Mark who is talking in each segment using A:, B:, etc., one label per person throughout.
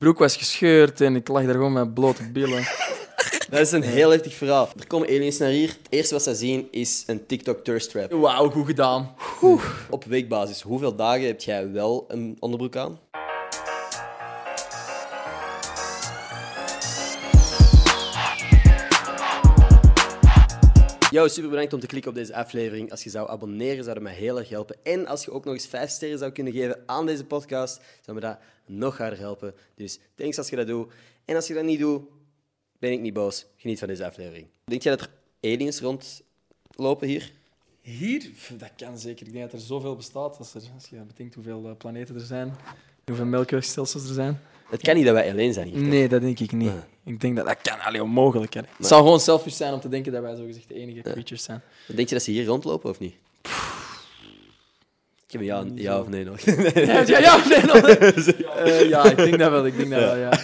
A: broek was gescheurd en ik lag daar gewoon met blote billen.
B: Dat is een heel heftig verhaal. Er komen aliens naar hier. Het eerste wat ze zien is een TikTok thirst trap.
A: Wauw, goed gedaan.
B: Op weekbasis, hoeveel dagen heb jij wel een onderbroek aan? Yo, super bedankt om te klikken op deze aflevering. Als je zou abonneren, zou dat mij heel erg helpen. En als je ook nog eens 5 sterren zou kunnen geven aan deze podcast, zou me dat nog harder helpen. Dus thanks als je dat doet. En als je dat niet doet, ben ik niet boos. Geniet van deze aflevering. Denk jij dat er aliens rondlopen hier?
A: Hier? Pff, Dat kan zeker. Ik denk dat er zoveel bestaat als, er, als je bedenkt hoeveel eh, planeten er zijn. en Hoeveel melkwegstelsels er zijn.
B: Het kan niet dat wij alleen zijn hier.
A: Nee, dat denk ik niet. Ik denk dat dat kan. Allee, onmogelijk. Hè. Het zou gewoon selfish zijn om te denken dat wij zogezegd de enige creatures zijn.
B: Denk je dat ze hier rondlopen of niet? Ik heb een ja, een ja of nee nog.
A: Ja, ja, ja, nee, no, nee. Eh, ja, ik denk dat wel. Ik denk dat wel, ja.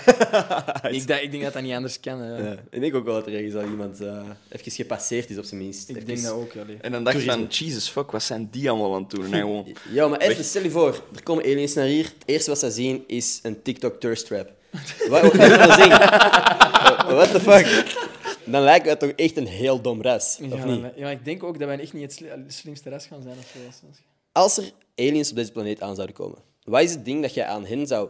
A: Ik, denk- ik denk dat dat niet anders kan. hè.
B: Ja, ik denk ook wel dat er ergens al iemand eh even gepasseerd is, op zijn minst.
A: Ik
B: Even-
A: denk dat ook, allee.
C: En dan dacht je van, Jesus fuck, wat zijn die allemaal aan het doen? En hij gewoon,
B: Ja, maar even, stel je voor, er komen aliens naar hier. Het eerste wat ze zien is een TikTok thirst trap. Wat, wat gaan ze dan zien? Eh, What the fuck? Dan lijken we toch echt een heel dom ras, of
A: Ja,
B: niet?
A: maar- ja, maar ik denk ook dat wij echt niet het sli- slimste rest gaan zijn. Of zo.
B: Als er aliens op deze planeet aan zouden komen, wat is het ding dat jij aan hen zou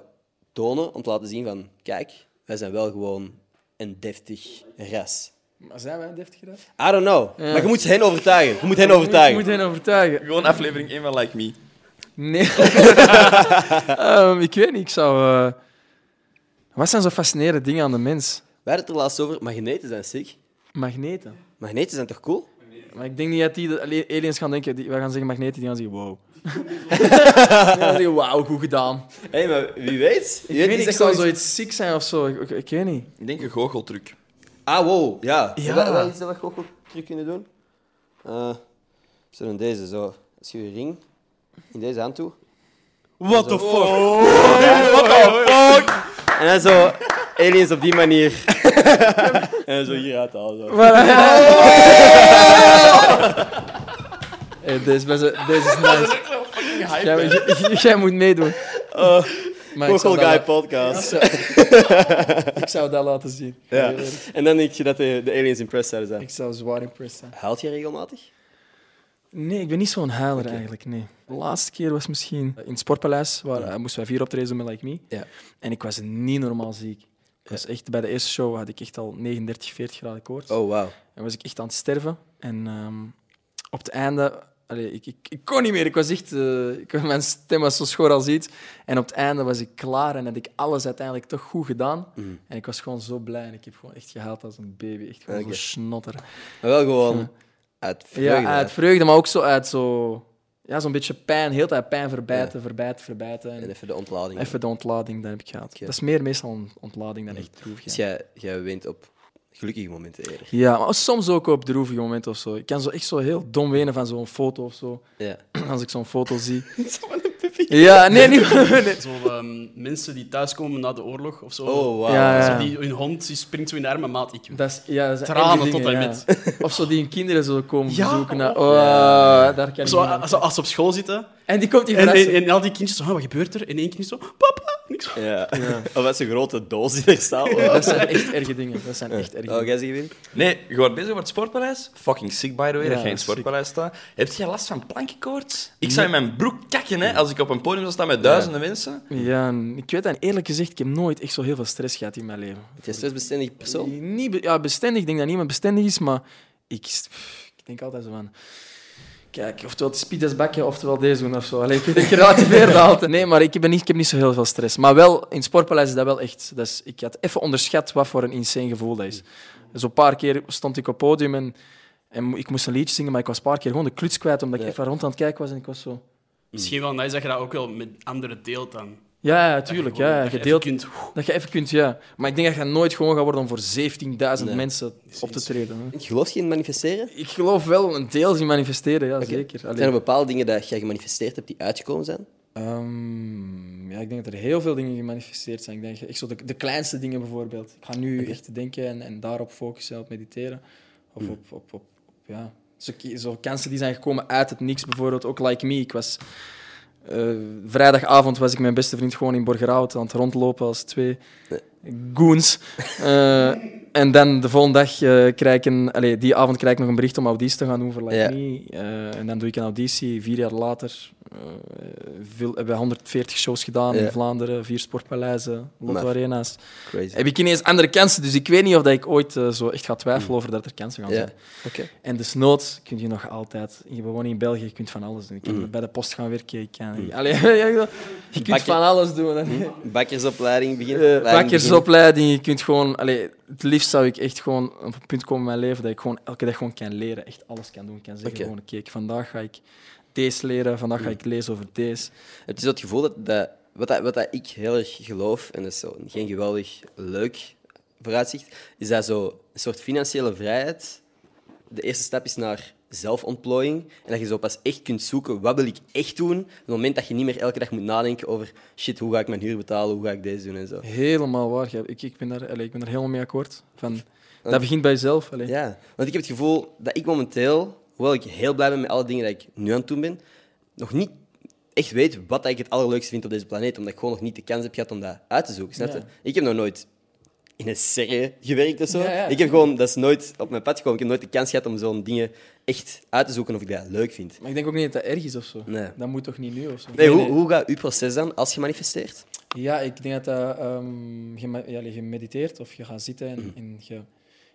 B: tonen om te laten zien van, kijk, wij zijn wel gewoon een deftig ras?
A: Maar zijn wij deftig gedaan?
B: I don't know.
A: Ja.
B: Maar je moet hen overtuigen. Je moet hen
A: Je
B: overtuigen.
A: moet hen overtuigen.
C: gewoon aflevering 1 van Like Me.
A: Nee. Ehm, ik weet niet, ik zou... eh, Wat zijn zo fascinerende dingen aan de mens?
B: We hadden het er laatst over. Magneten zijn sick.
A: Magneten.
B: Magneten zijn toch cool?
A: Maar ik denk niet dat die de ali- aliens gaan denken... Die, wij gaan zeggen magneten, die gaan zeggen wow. die gaan zeggen wauw, goed gedaan.
B: Hé, maar wie weet?
A: Ik weet niet, ik zou zoiets ziek zijn of zo. Ik, ik, ik weet niet.
C: Ik denk een goocheltruc.
B: Ah, wow. Ja.
A: Ja.
B: Wat, wat is dat wat je ook wel terug kunnen doen? Eh zo dan deze, zo. Als je je ring in deze hand toe.
C: What the fuck?
A: Oh.
B: En dan zo aliens op die manier. en dan zo hier uithalen. Zo.
A: Hey, Eh, deze, is best- deze is nice. Jij, jij- jij moet meedoen. Maar ik
B: Oh. Google
A: zou,
B: Guy
A: dat,
B: podcast.
A: ik zou dat laten zien.
B: Ja. En dan denk je dat de, de aliens impressed zouden zijn.
A: Ik zou zwaar impressed zijn.
B: Haalt je regelmatig?
A: Nee, ik ben niet zo'n huiler eigenlijk, nee. De laatste keer was misschien in het Sportpaleis, waar eh, moesten wij vier optredens doen met Like Me.
B: Ja.
A: En ik was niet normaal ziek. Ik was echt, bij de eerste show had ik echt al 39, 40 graden koorts.
B: Oh, wow.
A: En was ik echt aan het sterven. En ehm, op het einde... allee, ik, ik, ik kon niet meer. Ik was echt... eh, ik, mijn stem was zo schor als iets. En op het einde was ik klaar en had ik alles uiteindelijk toch goed gedaan. En ik was gewoon zo blij. En ik heb gewoon echt gehaald als een baby. Echt gewoon
B: Oké.
A: zo snotter.
B: Maar wel gewoon uit vreugde.
A: Ja, uit vreugde, maar ook zo uit zo... Ja, zo'n beetje pijn. Heel de tijd pijn verbijten, verbijten, verbijten.
B: En
A: En
B: even de ontlading.
A: even de ontlading, daar heb ik gehad. Dat is meer meestal een ontlading dan echt droevig.
B: Dus jij, jij wint op gelukkige momenten eerder.
A: Ja, maar soms ook op droevige momenten of zo. Ik kan zo echt zo heel dom wenen van zo'n foto of zo.
B: Ja.
A: Als ik zo'n foto zie. Ja, nee, niet nee.
D: Zo ehm, mensen die thuiskomen na de oorlog of zo.
B: Oh, wow.
A: Ja, ja.
D: Zo die, hun hond die springt zo in de armen, maat, ik.
A: Dat is, ja, dat zijn
D: Tranen
A: echt die
D: tot
A: dingen,
D: en
A: ja. Of zo die hun kinderen zo komen
D: Ja,
A: bezoeken. naar-
D: oh.
A: Oh, daar kan ik
D: Zo,
A: niet aan.
D: a- zo als ze op school zitten
A: En die komt die
D: en,
A: verrassen.
D: en, en al die kindjes zo, "Ah, wat gebeurt er? En één kindje zo, papa. En ik zo,
B: Ja. Of dat is een grote doos die er staat.
A: Dat zijn echt erge dingen. Dat zijn echt erge
B: Oh,
A: dingen.
B: jij zegt win?
C: Nee, je wordt bezig met het sportpaleis. Fucking sick, by the way,
A: Ja,
C: dat je in het
A: sick.
C: sportpaleis staat. Heb je last van plankenkoorts? Ik zou in mijn broek kakken, hè, als ik op een podium zou staan met duizenden mensen.
A: Ja, en ik weet dat eerlijk gezegd, ik heb nooit echt zo heel veel stress gehad in mijn leven.
B: Het is een stressbestendige persoon.
A: Niet be- ja, bestendig, ik denk dat niemand bestendig is, maar ik, pff, ik denk altijd zo van... Kijk, oftewel het speedes bakken, oftewel deze doen of zo. Allee, ik weet dat je relativeert altijd. Nee, maar ik, ben niet, ik heb niet zo heel veel stress. Maar wel, in het Sportpaleis is dat wel echt... Dat is, ik had even onderschat wat voor een insane gevoel dat is. Dus een paar keer stond ik op het podium en, en mo- ik moest een liedje zingen, maar ik was een paar keer gewoon de kluts kwijt, omdat ik even rond aan het kijken was en ik was zo...
D: misschien wel nice dat je dat ook wel met anderen deelt dan.
A: Ja, ja, tuurlijk.
D: Gewoon
A: Ja,
D: dat je even
A: gedeeld.
D: kunt-
A: Dat je even kunt, ja. Maar ik denk dat je nooit gewoon gaat worden om voor 17.000 mensen op te treden. hè.
B: Geloof je in manifesteren?
A: Ik geloof wel een deels in manifesteren, ja, zeker. Allee,
B: Zijn er bepaalde dingen dat jij gemanifesteerd hebt die uitgekomen zijn?
A: ehm, ja, ik denk dat er heel veel dingen gemanifesteerd zijn. Ik denk echt zo de, de kleinste dingen bijvoorbeeld. Ik ga nu echt denken en, en daarop focussen, op mediteren. Of op, op, op, op, ja. Zo, ki- zo kansen die zijn gekomen uit het niks bijvoorbeeld. Ook Like Me, ik was... Eh, vrijdagavond was ik mijn beste vriend gewoon in Borgerhout aan het rondlopen als twee goons. Eh, en dan de volgende dag eh, krijg ik een... Allee, die avond krijg ik nog een bericht om auditie te gaan doen voor Like
B: Ja.
A: Me. Eh, en dan doe ik een auditie. Vier jaar later eh, veel, hebben we 140 shows gedaan
B: Ja.
A: in Vlaanderen. Vier sportpaleizen, Lotto
B: Maar-
A: Arena's.
B: Crazy.
A: Heb ik ineens andere kansen, dus ik weet niet of dat ik ooit eh, zo echt ga twijfelen over dat er kansen gaan
B: Ja.
A: zijn.
B: Oké.
A: En desnoods kun je nog altijd... Je woont in België, je kunt van alles doen. Je kan
B: Mm.
A: bij de post gaan werken, je kan... Allee, je kunt
B: Bakken.
A: van alles doen. hè.
B: Bakkersopleiding beginnen.
A: Eh,
B: opleiding beginnen.
A: bakkersopleiding, je kunt gewoon... Allee, het liefst zou ik echt gewoon op een punt komen in mijn leven dat ik gewoon elke dag gewoon kan leren, echt alles kan doen. kan zeggen
B: Oké. Hmm.
A: gewoon, oké, ik- vandaag ga ik deze leren, vandaag ga ik lezen over deze.
B: Het is dat gevoel dat, dat, wat, dat, wat dat ik heel erg geloof, en dat is zo geen geweldig leuk vooruitzicht, is dat zo een soort financiële vrijheid. De eerste stap is naar zelfontplooiing. En dat je zo pas echt kunt zoeken, wat wil ik echt doen? Op het moment dat je niet meer elke dag moet nadenken over shit, hoe ga ik mijn huur betalen, hoe ga ik deze doen en zo.
A: Helemaal waar. jij- Ik, ik, ben daar, allee, ik ben daar helemaal mee akkoord. Van, dat begint bij jezelf. allee.
B: Ja, want ik heb het gevoel dat ik momenteel, hoewel ik heel blij ben met alle dingen die ik nu aan het doen ben, nog niet echt weet wat ik het allerleukste vind op deze planeet, omdat ik gewoon nog niet de kans heb gehad om dat uit te zoeken. Snap je?
A: Ja.
B: Ik heb nog nooit in een serie gewerkt of zo.
A: Ja, ja.
B: Ik heb gewoon, dat is nooit op mijn pad gekomen. Ik heb nooit de kans gehad om zo'n dingen echt uit te zoeken of ik dat leuk vind.
A: Maar ik denk ook niet dat dat erg is of zo.
B: Nee.
A: Dat moet toch niet nu of zo?
B: Nee, Hoe, hoe gaat uw proces dan als je manifesteert?
A: Ja, ik denk dat dat, ehm, je, me- ja, je mediteert of je gaat zitten en,
B: Mhm.
A: en je,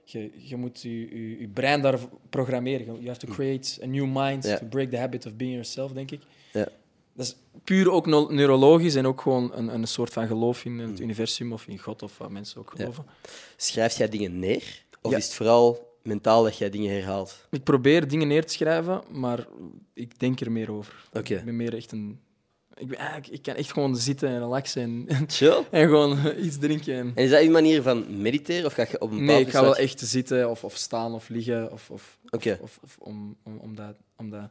A: je, je moet je, je, je brein daar programmeren. You have to create a new mind
B: Mhm. Ja.
A: to break the habit of being yourself, denk ik.
B: Ja.
A: Dat is puur ook no- neurologisch en ook gewoon een, een soort van geloof in het universum of in God of wat mensen ook
B: Mhm. Ja.
A: geloven.
B: Schrijf jij dingen neer? Of
A: Ja.
B: is het vooral mentaal dat jij dingen herhaalt?
A: Ik probeer dingen neer te schrijven, maar ik denk er meer over.
B: Oké.
A: Ik ben meer echt een... Ik, ben, eigenlijk- ik kan echt gewoon zitten en relaxen en,
B: Chill.
A: en gewoon iets drinken. En,
B: En is dat uw manier van mediteren? Of ga je op een bepaald
A: Nee, ik ga wel
B: soort-
A: echt zitten of, of staan of liggen of, of, of-
B: Oké.
A: of, of om, om, om, dat, om, dat,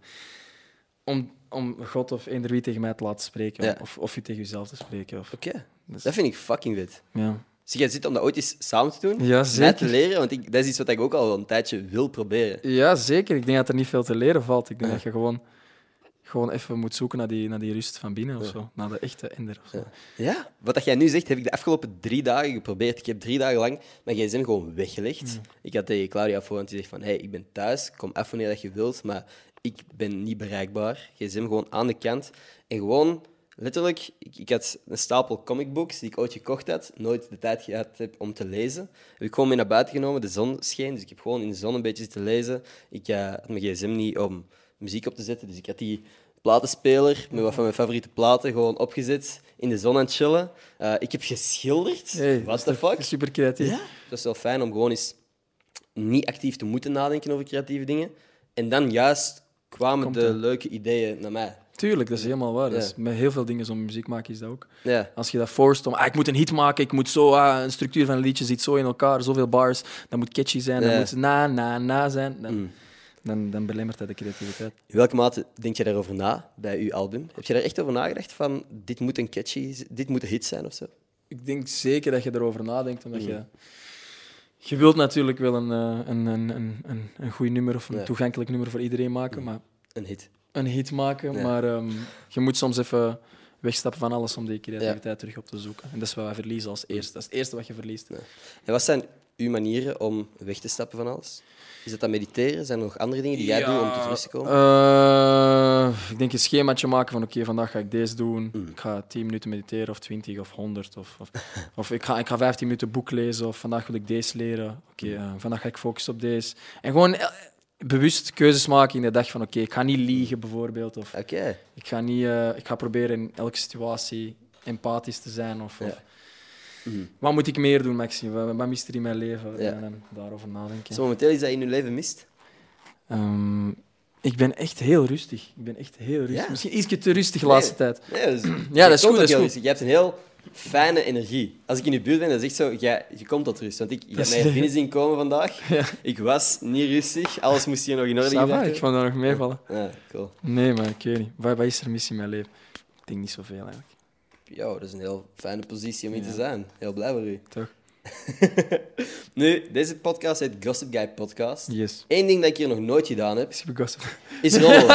A: om, om God of eender wie tegen mij te laten spreken.
B: Ja.
A: Of, of je tegen jezelf te spreken. Of,
B: Oké,
A: Dus-
B: dat vind ik fucking wit.
A: ja.
B: Zie jij zit om dat ooit eens samen te doen?
A: Ja,
B: Mij te
A: zeker.
B: leren, want ik, dat is iets wat ik ook al een tijdje wil proberen.
A: ja, zeker. Ik denk dat er niet veel te leren valt. Ik denk dat je gewoon, gewoon even moet zoeken naar die, naar die rust van binnen of zo. Naar de echte eender of zo.
B: Ja, wat dat jij nu zegt, heb ik de afgelopen drie dagen geprobeerd. Ik heb drie dagen lang mijn gsm gewoon weggelegd. Ik had tegen Claudia voor, want die zegt van, hey, ik ben thuis, kom af wanneer dat je wilt, maar ik ben niet bereikbaar. Gsm gewoon aan de kant. En gewoon, letterlijk, ik, ik had een stapel comicbooks die ik ooit gekocht had, nooit de tijd gehad heb om te lezen. Heb ik gewoon mee naar buiten genomen, de zon scheen, dus ik heb gewoon in de zon een beetje zitten lezen. Ik eh, had mijn gsm niet om muziek op te zetten, dus ik had die platenspeler met wat van mijn favoriete platen gewoon opgezet, in de zon aan het chillen. Eh, ik heb geschilderd.
A: Hey,
B: What the fuck?
A: Super creatief.
B: Ja. Dat is wel fijn om gewoon eens niet actief te moeten nadenken over creatieve dingen. En dan juist kwamen
A: Komt
B: de
A: er.
B: leuke ideeën naar mij.
A: Tuurlijk, dat is helemaal waar. Dat
B: Ja.
A: is- met heel veel dingen zo'n muziek maken is dat ook.
B: Ja.
A: Als je dat forst om, ah, ik moet een hit maken, ik moet zo, ah, een structuur van een liedje zit zo in elkaar, zoveel bars, dat moet catchy zijn,
B: Ja.
A: dat moet na, na, na zijn, dan,
B: Mm.
A: dan, dan belemmert dat de creativiteit.
B: In welke mate denk je daarover na bij uw album? Heb je daar echt over nagedacht van dit moet een catchy, z- dit moet een hit zijn of zo?
A: Ik denk zeker dat je erover nadenkt, omdat je...
B: Mm.
A: Je wilt natuurlijk wel een, eh, een, een, een, een, een goed nummer of een
B: Ja.
A: toegankelijk nummer voor iedereen maken, maar
B: Een hit.
A: een hit maken,
B: Ja.
A: maar ehm, je moet soms even wegstappen van alles om die creativiteit terug op te zoeken. En dat is wat we verliezen als eerste. Dat is het eerste wat je verliest.
B: En wat zijn uw manieren om weg te stappen van alles? Is dat dan mediteren? Zijn er nog andere dingen die jij
D: Ja.
B: doet om tot rust te komen? Oh.
A: Eh, ik denk een schemaatje maken van oké, vandaag ga ik deze doen.
B: Mm.
A: Ik ga 10 minuten mediteren of 20 of 100. Of, of, of ik, ga, ik ga 15 minuten boek lezen of vandaag wil ik deze leren. Oké,
B: Mm.
A: eh, vandaag ga ik focussen op deze. En gewoon eh, bewust keuzes maken in de dag van oké, ik ga niet liegen bijvoorbeeld. Of
B: Oké.
A: ik ga, niet, eh, ik ga proberen in elke situatie empathisch te zijn. Of, of-
B: Ja. Mm.
A: Wat moet ik meer doen, Maxi? Wat, wat mist er in mijn leven?
B: Ja.
A: En dan daarover nadenken.
B: Zo momenteel is dat in uw leven mist?
A: Ehm, ik ben echt heel rustig. Ik ben echt heel rustig.
B: Ja?
A: Misschien ietsje te rustig de laatste tijd.
B: Nee, dat is,
A: Ja, dat is
B: je komt
A: goed,
B: ook
A: dat is
B: heel
A: goed.
B: rustig. Je hebt een heel fijne energie. Als ik in je buurt ben, dan zeg ik zo, jij, je komt tot rust. Want ik
A: Dat
B: je hebt
A: is-
B: mij hier binnen zien komen vandaag. Ik was niet rustig. Alles moest hier nog in orde
A: Ça va,
B: gebracht
A: ik vond dat nog meevallen.
B: worden. Ah, cool.
A: Nee, maar ik weet niet. Wat, wat is er mis in mijn leven? Ik denk niet zoveel eigenlijk.
B: Ja, dat is een heel fijne positie om in te
A: Ja.
B: zijn. Heel blij voor u.
A: Toch?
B: Nu, deze podcast heet Gossip Guy Podcast.
A: Yes.
B: Eén ding dat ik hier nog nooit gedaan heb,
A: Super gossip.
B: is rollen.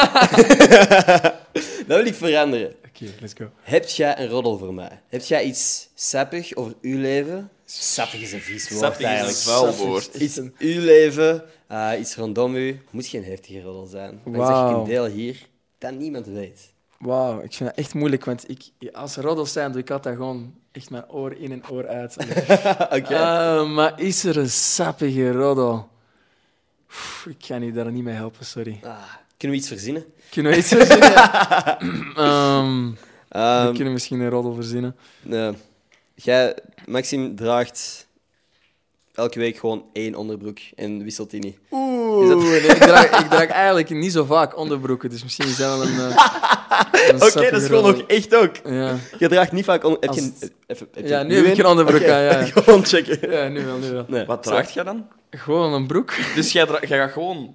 B: dat wil ik veranderen.
A: Oké. let's go.
B: Heb jij een roddel voor mij? Heb jij iets sappig over uw leven? Sappig is een vies woord
C: Sappig is een
B: eigenlijk.
C: vuil
B: Sappig.
C: woord.
B: Iets in uw leven, eh, iets rondom u. Moet geen heftige roddel zijn. Maar ik zeg
A: Wauw.
B: ik een deel hier dat niemand weet.
A: Wauw, ik vind dat echt moeilijk, want ik, als er roddels zijn, doe ik altijd gewoon echt mijn oor in en oor uit.
B: Oké.
A: Ah, maar is er een sappige roddel? Oef, ik kan u daar niet mee helpen, sorry.
B: Ah, kunnen we iets verzinnen?
A: Kunnen we iets verzinnen? Ehm, we
B: Ehm,
A: kunnen misschien een roddel verzinnen.
B: eh, jij, Maxime, draagt elke week gewoon één onderbroek en wisselt die niet.
A: Oeh, nee, ik, draag, ik draag eigenlijk niet zo vaak onderbroeken, dus misschien is dat wel een.
B: Oké, dat is gewoon nog echt ook.
A: Ja.
B: Je draagt niet vaak onder... Heb
A: Als
B: je,
A: het-
B: even, heb je
A: Ja, nu heb ik
B: een?
A: een onderbroek
B: Oké,
A: aan, ja.
B: Gewoon checken.
A: ja, nu wel, nu wel.
B: Nee,
C: Wat
B: sorry.
C: draagt jij dan?
A: Gewoon een broek.
C: Dus jij, dra- jij gaat gewoon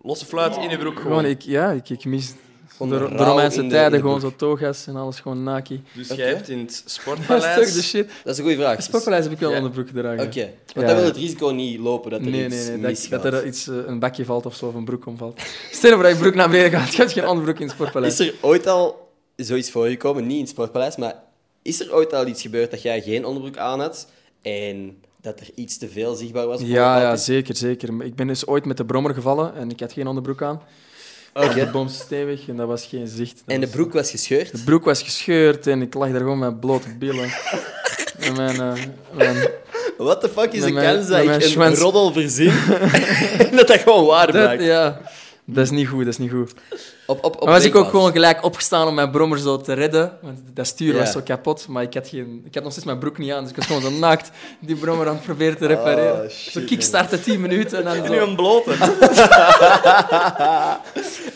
C: losse fluit in je broek. Gewoon.
A: Gewoon, ik, ja, ik, ik mis de,
B: Gewoon
A: de
B: rauw
A: Romeinse
B: in de- in de
A: tijden,
B: broek.
A: gewoon zo toga's en alles gewoon naki.
C: Dus
B: Oké.
C: jij hebt in het
A: Dat is toch
C: sportpaleis...
A: de shit.
B: Dat is een goede vraag. Dus-
A: Sportpaleis heb ik wel
C: Ja.
A: onderbroek gedragen.
B: Oké, want
A: Ja.
B: dan wil het risico niet lopen dat er
A: Nee,
B: iets
A: nee, nee. Dat,
B: misgaat.
A: dat er iets, eh, een bakje valt of zo, of een broek omvalt. Stel je voor dat je broek naar beneden gaat, je hebt geen onderbroek in het sportpaleis.
B: Is er ooit al zoiets voorgekomen, niet in het Sportpaleis, maar is er ooit al iets gebeurd dat jij geen onderbroek aan had en dat er iets te veel zichtbaar was? op
A: Ja,
B: een
A: ja,
B: bepaald
A: zeker, zeker. Maar Ik ben dus ooit met de brommer gevallen en ik had geen onderbroek aan.
B: punt?
A: De
B: Oké.
A: boom stevig en dat was geen zicht. Dat
B: En de
A: was-
B: broek was gescheurd?
A: De broek was gescheurd en ik lag daar gewoon met blote billen. en mijn, eh, mijn...
B: What the fuck is
A: Met
B: de
A: mijn- met
B: kans dat ik
A: mijn
B: een
A: schwans-
B: roddel verzin en dat dat gewoon waar
A: Dat,
B: blijkt?
A: ja. Dat is niet goed, dat is niet goed.
B: Op, op, op
A: Maar was ik ook
B: weekbasis.
A: gewoon gelijk opgestaan om mijn brommer zo te redden. Want dat stuur
B: Ja.
A: was zo kapot, maar ik had, geen, ik had nog steeds mijn broek niet aan. Dus ik was gewoon zo naakt die brommer aan het proberen te repareren.
B: Oh, shit,
A: zo kickstarten 10 minuten en dan
C: En nu
A: zo...
C: een blote.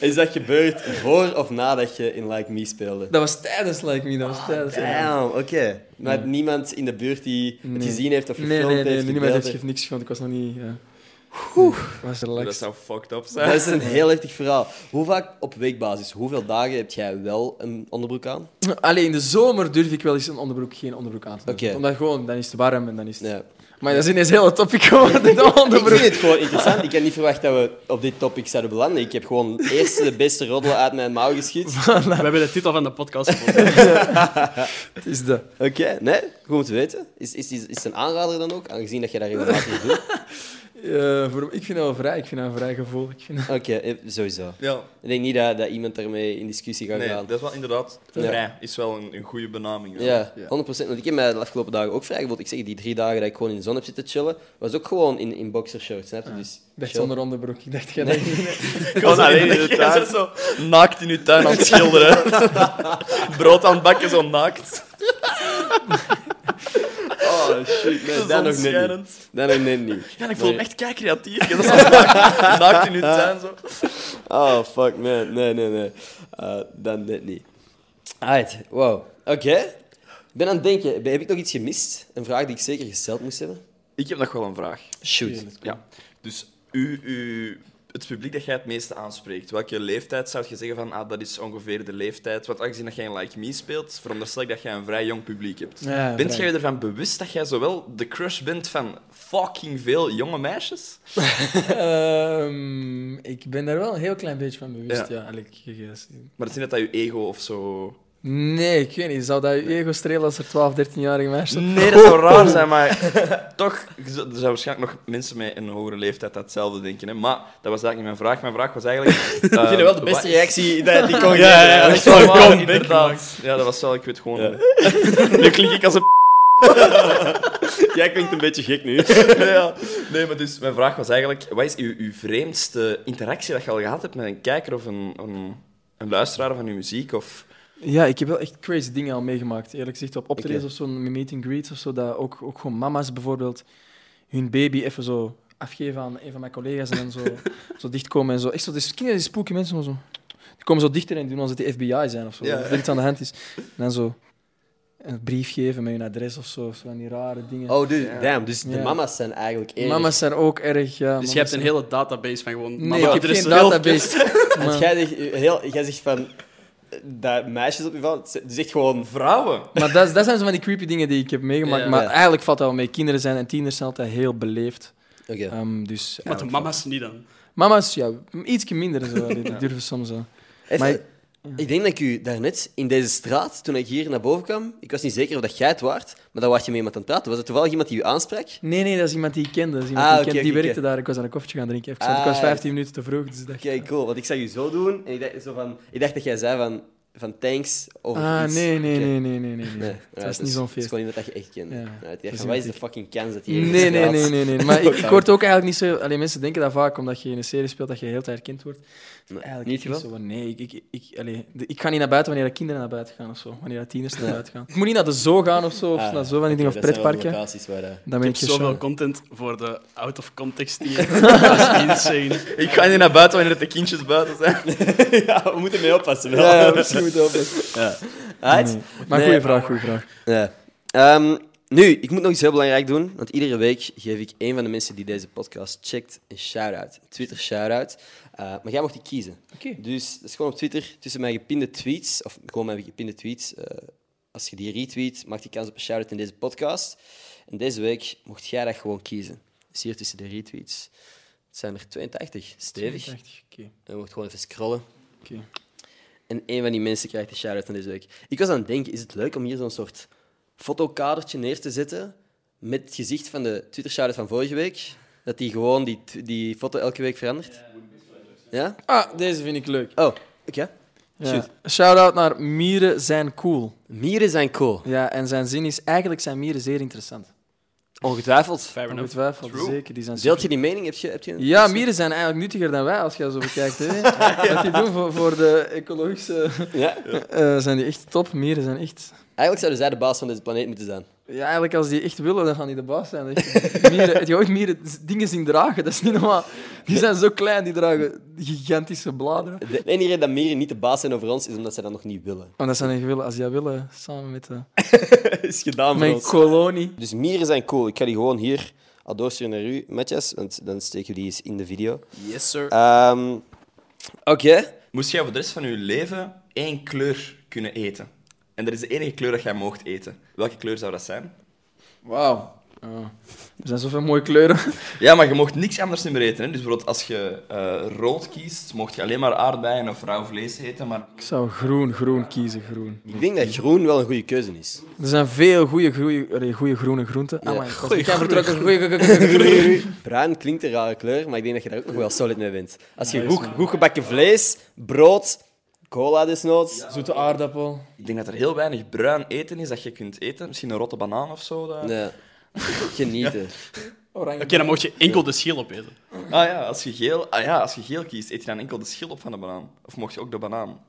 B: Is dat gebeurd voor of nadat je in Like Me speelde?
A: Dat was tijdens Like Me, dat was tijdens.
B: Ah, Damn, oké. Maar niemand in de buurt die het
A: Nee.
B: gezien heeft of
A: Nee,
B: gefilmd
A: nee, nee,
B: heeft?
A: nee, niemand
B: gedeeld
A: heeft gef- niks gefilmd. Ik was nog niet... eh, was
C: Dat
A: relaxed.
C: zou fucked up zijn.
B: Dat is een heel heftig verhaal. Hoe vaak op weekbasis, hoeveel dagen heb jij wel een onderbroek aan?
A: Alleen in de zomer durf ik wel eens een onderbroek, geen onderbroek aan te doen.
B: Oké.
A: Omdat gewoon, dan is het warm en dan is het...
B: Ja.
A: Maar dat is ineens heel topic geworden, de
B: Ik
A: onderbroek.
B: vind het gewoon interessant. Ik had niet verwacht dat we op dit topic zouden belanden. Ik heb gewoon eerst de beste roddel uit mijn mouw geschiet.
D: We hebben de titel van de podcast gevonden.
A: Het is de...
B: Oké, nee, goed om te weten. Is, is, is, is het een aanrader dan ook, aangezien dat je dat regelmatig doet?
A: eh, voor, ik vind dat wel vrij, ik vind dat een vrij gevoel. Ik vind dat-
B: Oké, eh, sowieso.
C: Ja,
B: Ik denk niet dat, dat iemand daarmee in discussie gaat
C: nee,
B: gaan.
C: dat is wel inderdaad...
B: Ja.
C: Vrij is wel een, een goede benaming. ja.
B: Ja, 100%. Want ik heb mij de afgelopen dagen ook vrijgevoeld. Ik zeg, die drie dagen dat ik gewoon in de zon heb zitten chillen, was ook gewoon in, in boxershorts, snap je? Dus
A: Ik dacht
B: chill.
A: zonder onderbroek. Ik dacht, jij dat-
C: Ik was alleen in de tuin. Zo naakt in uw tuin aan het schilderen. Brood aan het bakken, zo naakt.
B: Oh shit, nee, dat nog net niet.
C: Zonschijnend.
B: Dat nog net niet.
C: Ja, ik voel
B: Nee.
C: hem echt kei creatief. Je zat zo naakt, naakt in uw tuin. Zo.
B: Oh fuck man, nee, nee, nee. Eh dat net niet. Alright, wow. Oké. Ik ben aan het denken, heb ik nog iets gemist? Een vraag die ik zeker gesteld moest hebben?
C: Ik heb nog wel een vraag.
B: Shoot. Eh,
C: Ja. Dus u, u, het publiek dat jij het meeste aanspreekt, welke leeftijd zou je zeggen van ah, dat is ongeveer de leeftijd? Want aangezien dat jij in Like Me speelt, veronderstel ik dat jij een vrij jong publiek hebt.
A: Ja,
C: bent
A: vrij.
C: jij je ervan bewust dat jij zowel de crush bent van fucking veel jonge meisjes?
A: Ehm, ik ben daar wel een heel klein beetje van bewust.
C: Ja.
A: Ja. Allee, ik- ik- ik-
C: Maar het is niet dat dat je ego of zo
A: nee, ik weet niet. Zou dat je ego strelen als er 12, 13-jarige meisjes op-
C: Nee, dat zou raar zijn, maar toch, er zijn waarschijnlijk nog mensen met een hogere leeftijd dat hetzelfde denken. Hè? Maar dat was eigenlijk niet mijn vraag. Mijn vraag was eigenlijk...
B: Ik vind
C: eh,
B: het wel de
C: wat-
B: beste reactie dat die kon
D: Ja, ja, ja.
B: geven.
C: Dat is wel waar, inderdaad. Ja, dat was wel, ik weet gewoon...
B: Ja.
C: Nu klink ik als een...
B: Jij klinkt een beetje gek nu.
C: ja. Nee, maar dus mijn vraag was eigenlijk, wat is uw, uw vreemdste interactie dat je al gehad hebt met een kijker of een, een, een luisteraar van uw muziek? Of...
A: Ja, ik heb wel echt crazy dingen al meegemaakt. Eerlijk gezegd, op optredens of zo, met meet and greets of zo, dat ook, ook gewoon mama's bijvoorbeeld hun baby even zo afgeven aan een van mijn collega's en dan zo, zo dichtkomen en zo. Echt zo, dus kinderen die spooky mensen maar zo. Die komen zo dichter en doen alsof het de FBI zijn of zo.
C: Ja.
A: Of er iets aan de hand is. En dan zo een brief geven met hun adres of zo, zo van die rare dingen.
B: Oh, dus, damn. Dus de
A: Ja.
B: mama's zijn eigenlijk eerder...
A: mama's zijn ook erg, ja.
D: Dus
A: mama's
D: je hebt een
A: zijn-
D: hele database van gewoon...
A: Nee, ik heb geen
D: adressen.
A: database.
B: Want jij zegt, heel, jij zegt van... eh, Dat meisjes op je vallen, ze- dus echt gewoon...
C: Vrouwen?
A: Maar dat, dat zijn zo van die creepy dingen die ik heb meegemaakt.
D: Ja.
A: Maar
B: Ja.
A: eigenlijk valt dat wel mee. Kinderen zijn en tieners zijn altijd heel beleefd.
B: Oké.
A: Ehm, dus
D: Maar de
A: eigenlijk-
D: mama's niet dan.
A: Mama's, ja, ietsje minder. Zo, die die durven soms eh. wel.
B: Even,
A: Maar-
B: Ik denk dat ik u daarnet in deze straat, toen ik hier naar boven kwam, ik was niet zeker of dat jij het waart, maar dan was je met iemand aan het praten. Was het toevallig iemand die u aansprak?
A: Nee, nee, dat is iemand die ik kende. Dat is iemand
B: Ah,
A: die, ik
B: oké,
A: kende. die
B: oké,
A: werkte
B: oké.
A: daar. Ik was aan een koffietje gaan drinken. even, want ik
B: Ah,
A: was 15 minuten te vroeg, dus ik dacht...
B: Oké, cool. Want ik zag u zo doen en ik dacht, zo van, ik dacht dat jij zei van, van thanks of
A: ah,
B: iets.
A: nee, nee,
B: Oké.
A: nee, nee, nee, nee. nee.
B: Nee,
A: Het
B: ja,
A: was
B: dus
A: niet zo'n
B: Het is
A: feest.
B: gewoon iemand dat je echt kent.
A: Ja.
B: Ja. ik
A: Dat
B: dacht
A: is
B: van, wat is de
A: iemand
B: fucking kans dat
A: Nee,
B: hier
A: nee, nee, nee, nee, nee. Maar ik, ik
B: Ja.
A: word ook eigenlijk niet zo... Allee, mensen denken dat vaak, omdat je in een serie speelt, dat je heel de tijd herkend wordt.
B: Nee,
A: Eigenlijk
B: niet
A: is
B: wel?
A: het zo van, nee, ik, ik, ik, allee, de- ik ga niet naar buiten wanneer de kinderen naar buiten gaan of zo. Wanneer de tieners naar buiten gaan. Ik moet niet naar de zoo gaan of zo, of
B: Ah,
A: naar zo van die dingen, of pretparken. Dan
B: eh.
D: Ik
A: ben
D: heb
A: ik
D: zoveel
A: geschokt.
D: content voor de out of context hier. dat is insane.
C: Ik ga niet naar buiten wanneer de kindjes buiten zijn.
B: ja, we moeten mee oppassen. Wel.
A: Ja, ja, misschien moet je oppassen.
B: Ja. Alright.
A: Nee. Maar
B: Nee.
A: goede vraag, goede vraag.
B: Ja. Ehm, nu, ik moet nog iets heel belangrijk doen, want iedere week geef ik een van de mensen die deze podcast checkt een shout-out. Een Twitter shout-out. Eh, maar jij mocht die kiezen.
A: Oké.
B: Dus dat is gewoon op Twitter, tussen mijn gepinde tweets, of gewoon mijn gepinde tweets. eh, als je die retweet, maakt die kans op een shout-out in deze podcast. En deze week mocht jij dat gewoon kiezen. Dus hier tussen de retweets. Het zijn er 82, stevig.
A: 82, Oké.
B: En je mocht gewoon even scrollen.
A: Oké.
B: En een van die mensen krijgt een shout-out aan deze week. Ik was aan het denken, is het leuk om hier zo'n soort fotokadertje neer te zetten met het gezicht van de Twitter-shout-out van vorige week? Dat die gewoon die, t- die foto elke week verandert? Ja?
A: Ah, deze vind ik leuk.
B: Oh, oké.
A: Ja. Shout-out naar Mieren zijn cool.
B: Mieren zijn cool.
A: Ja, en zijn zin is... Eigenlijk zijn mieren zeer interessant.
B: Ongetwijfeld.
D: Fair enough.
A: Ongetwijfeld,
D: True.
A: zeker. Die zijn
B: Deelt je die mening? Heb je, heb je een...
A: Ja, mieren zijn eigenlijk nuttiger dan wij, als je dat zo bekijkt. Hè? Wat die doen voor, voor de ecologische...
B: Ja?
A: eh, zijn die echt top. Mieren zijn echt...
B: Eigenlijk zouden zij de baas van deze planeet moeten zijn.
A: Ja, eigenlijk als die echt willen, dan gaan die de baas zijn. Echt. Mieren, heb je ooit mieren z- dingen zien dragen? Dat is niet normaal. Die zijn zo klein, die dragen gigantische bladeren.
B: De enige reden dat mieren niet de baas zijn over ons, is omdat zij dat nog niet willen.
A: Want dat zijn die willen, als die dat willen, samen met de,
B: is gedaan voor
A: mijn
B: ons.
A: kolonie.
B: Dus mieren zijn cool. Ik ga die gewoon hier al doorsturen naar u, Matjas, want dan steken we die eens in de video.
C: Yes, sir.
B: Ehm, Oké.
C: Moest jij voor de rest van je leven één kleur kunnen eten? En dat is de enige kleur dat jij moogt eten. Welke kleur zou dat zijn?
A: Wauw. Er zijn zoveel mooie kleuren.
C: Ja, maar je mocht niks anders niet meer eten. Hè? Dus bijvoorbeeld als je eh, rood kiest, mocht je alleen maar aardbeien of rauw vlees eten. Maar
A: Ik zou groen, groen kiezen, groen.
B: Ik denk dat groen wel een goede keuze is.
A: Er zijn veel goede groene groenten. Ah, mijn god. Ik heb vertrokken.
B: Bruin klinkt een rare kleur, maar ik denk dat je daar ook nog wel solid mee bent. Als je goed, goed gebakken vlees, brood, cola desnoods.
A: Zoete aardappel.
C: ik denk dat er heel weinig bruin eten is dat je kunt eten. Misschien een rotte banaan of zo. dat-
B: Nee. Genieten.
A: Oranje.
D: Oké, dan mocht je enkel de schil opeten.
C: Ah, ja, als je geel, ah ja, als je geel kiest, eet je dan enkel de schil op van de banaan. Of mocht je ook de banaan?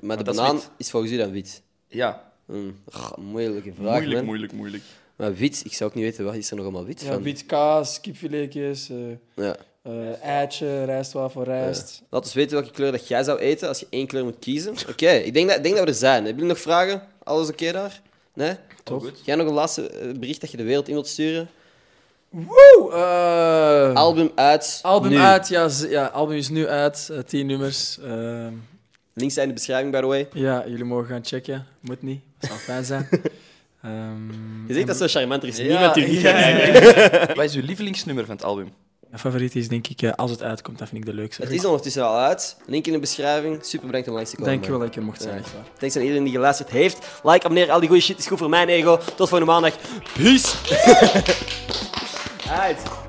B: Maar de
C: dat is
B: banaan is,
C: wit.
B: volgens u dan wit.
C: Ja,
B: Mm. Goh, moeilijke vraag,
C: moeilijk,
B: man.
C: moeilijk, moeilijk.
B: Maar wit, ik zou ook niet weten, wat is er nog allemaal wit
A: Ja,
B: van?
A: biet kaas, kipfiletjes, eh
B: Ja.
A: eh, eitje, rijstwafel, rijst.
B: Laat ons weten welke kleur dat jij zou eten als je één kleur moet kiezen. Oké, ik denk dat, ik denk dat we er zijn. Hebben jullie nog vragen? Alles oké daar? Nee?
C: Toch? Goed.
B: Jij nog een laatste eh, bericht dat je de wereld in wilt sturen?
A: Woe! eh,
B: Album uit.
A: album
B: nu.
A: uit, ja, z- ja, album is nu uit. eh, tien nummers. Ehm,
B: Links zijn in de beschrijving, by the way.
A: ja, jullie mogen gaan checken. Moet niet. Zou fijn zijn. Ehm,
B: Je zegt dat
A: en-
B: zo charmant, er is
C: Ja,
B: niemand die het niet
C: ja,
B: gaat
C: ja,
B: kijken.
C: Wat is uw lievelingsnummer van het album?
A: Mijn favoriet is denk ik, eh, als het uitkomt, dat vind ik de leukste.
B: Het is ondertussen al uit. Link in de beschrijving. Super bedankt om langs te komen.
A: Dankjewel
B: man.
A: dat ik er mocht zijn.
B: Ja.
A: echt waar.
B: Thanks aan iedereen die geluisterd heeft. Like, abonneer, al die goede shit is goed voor mijn ego. Tot volgende maandag. Peace! uit.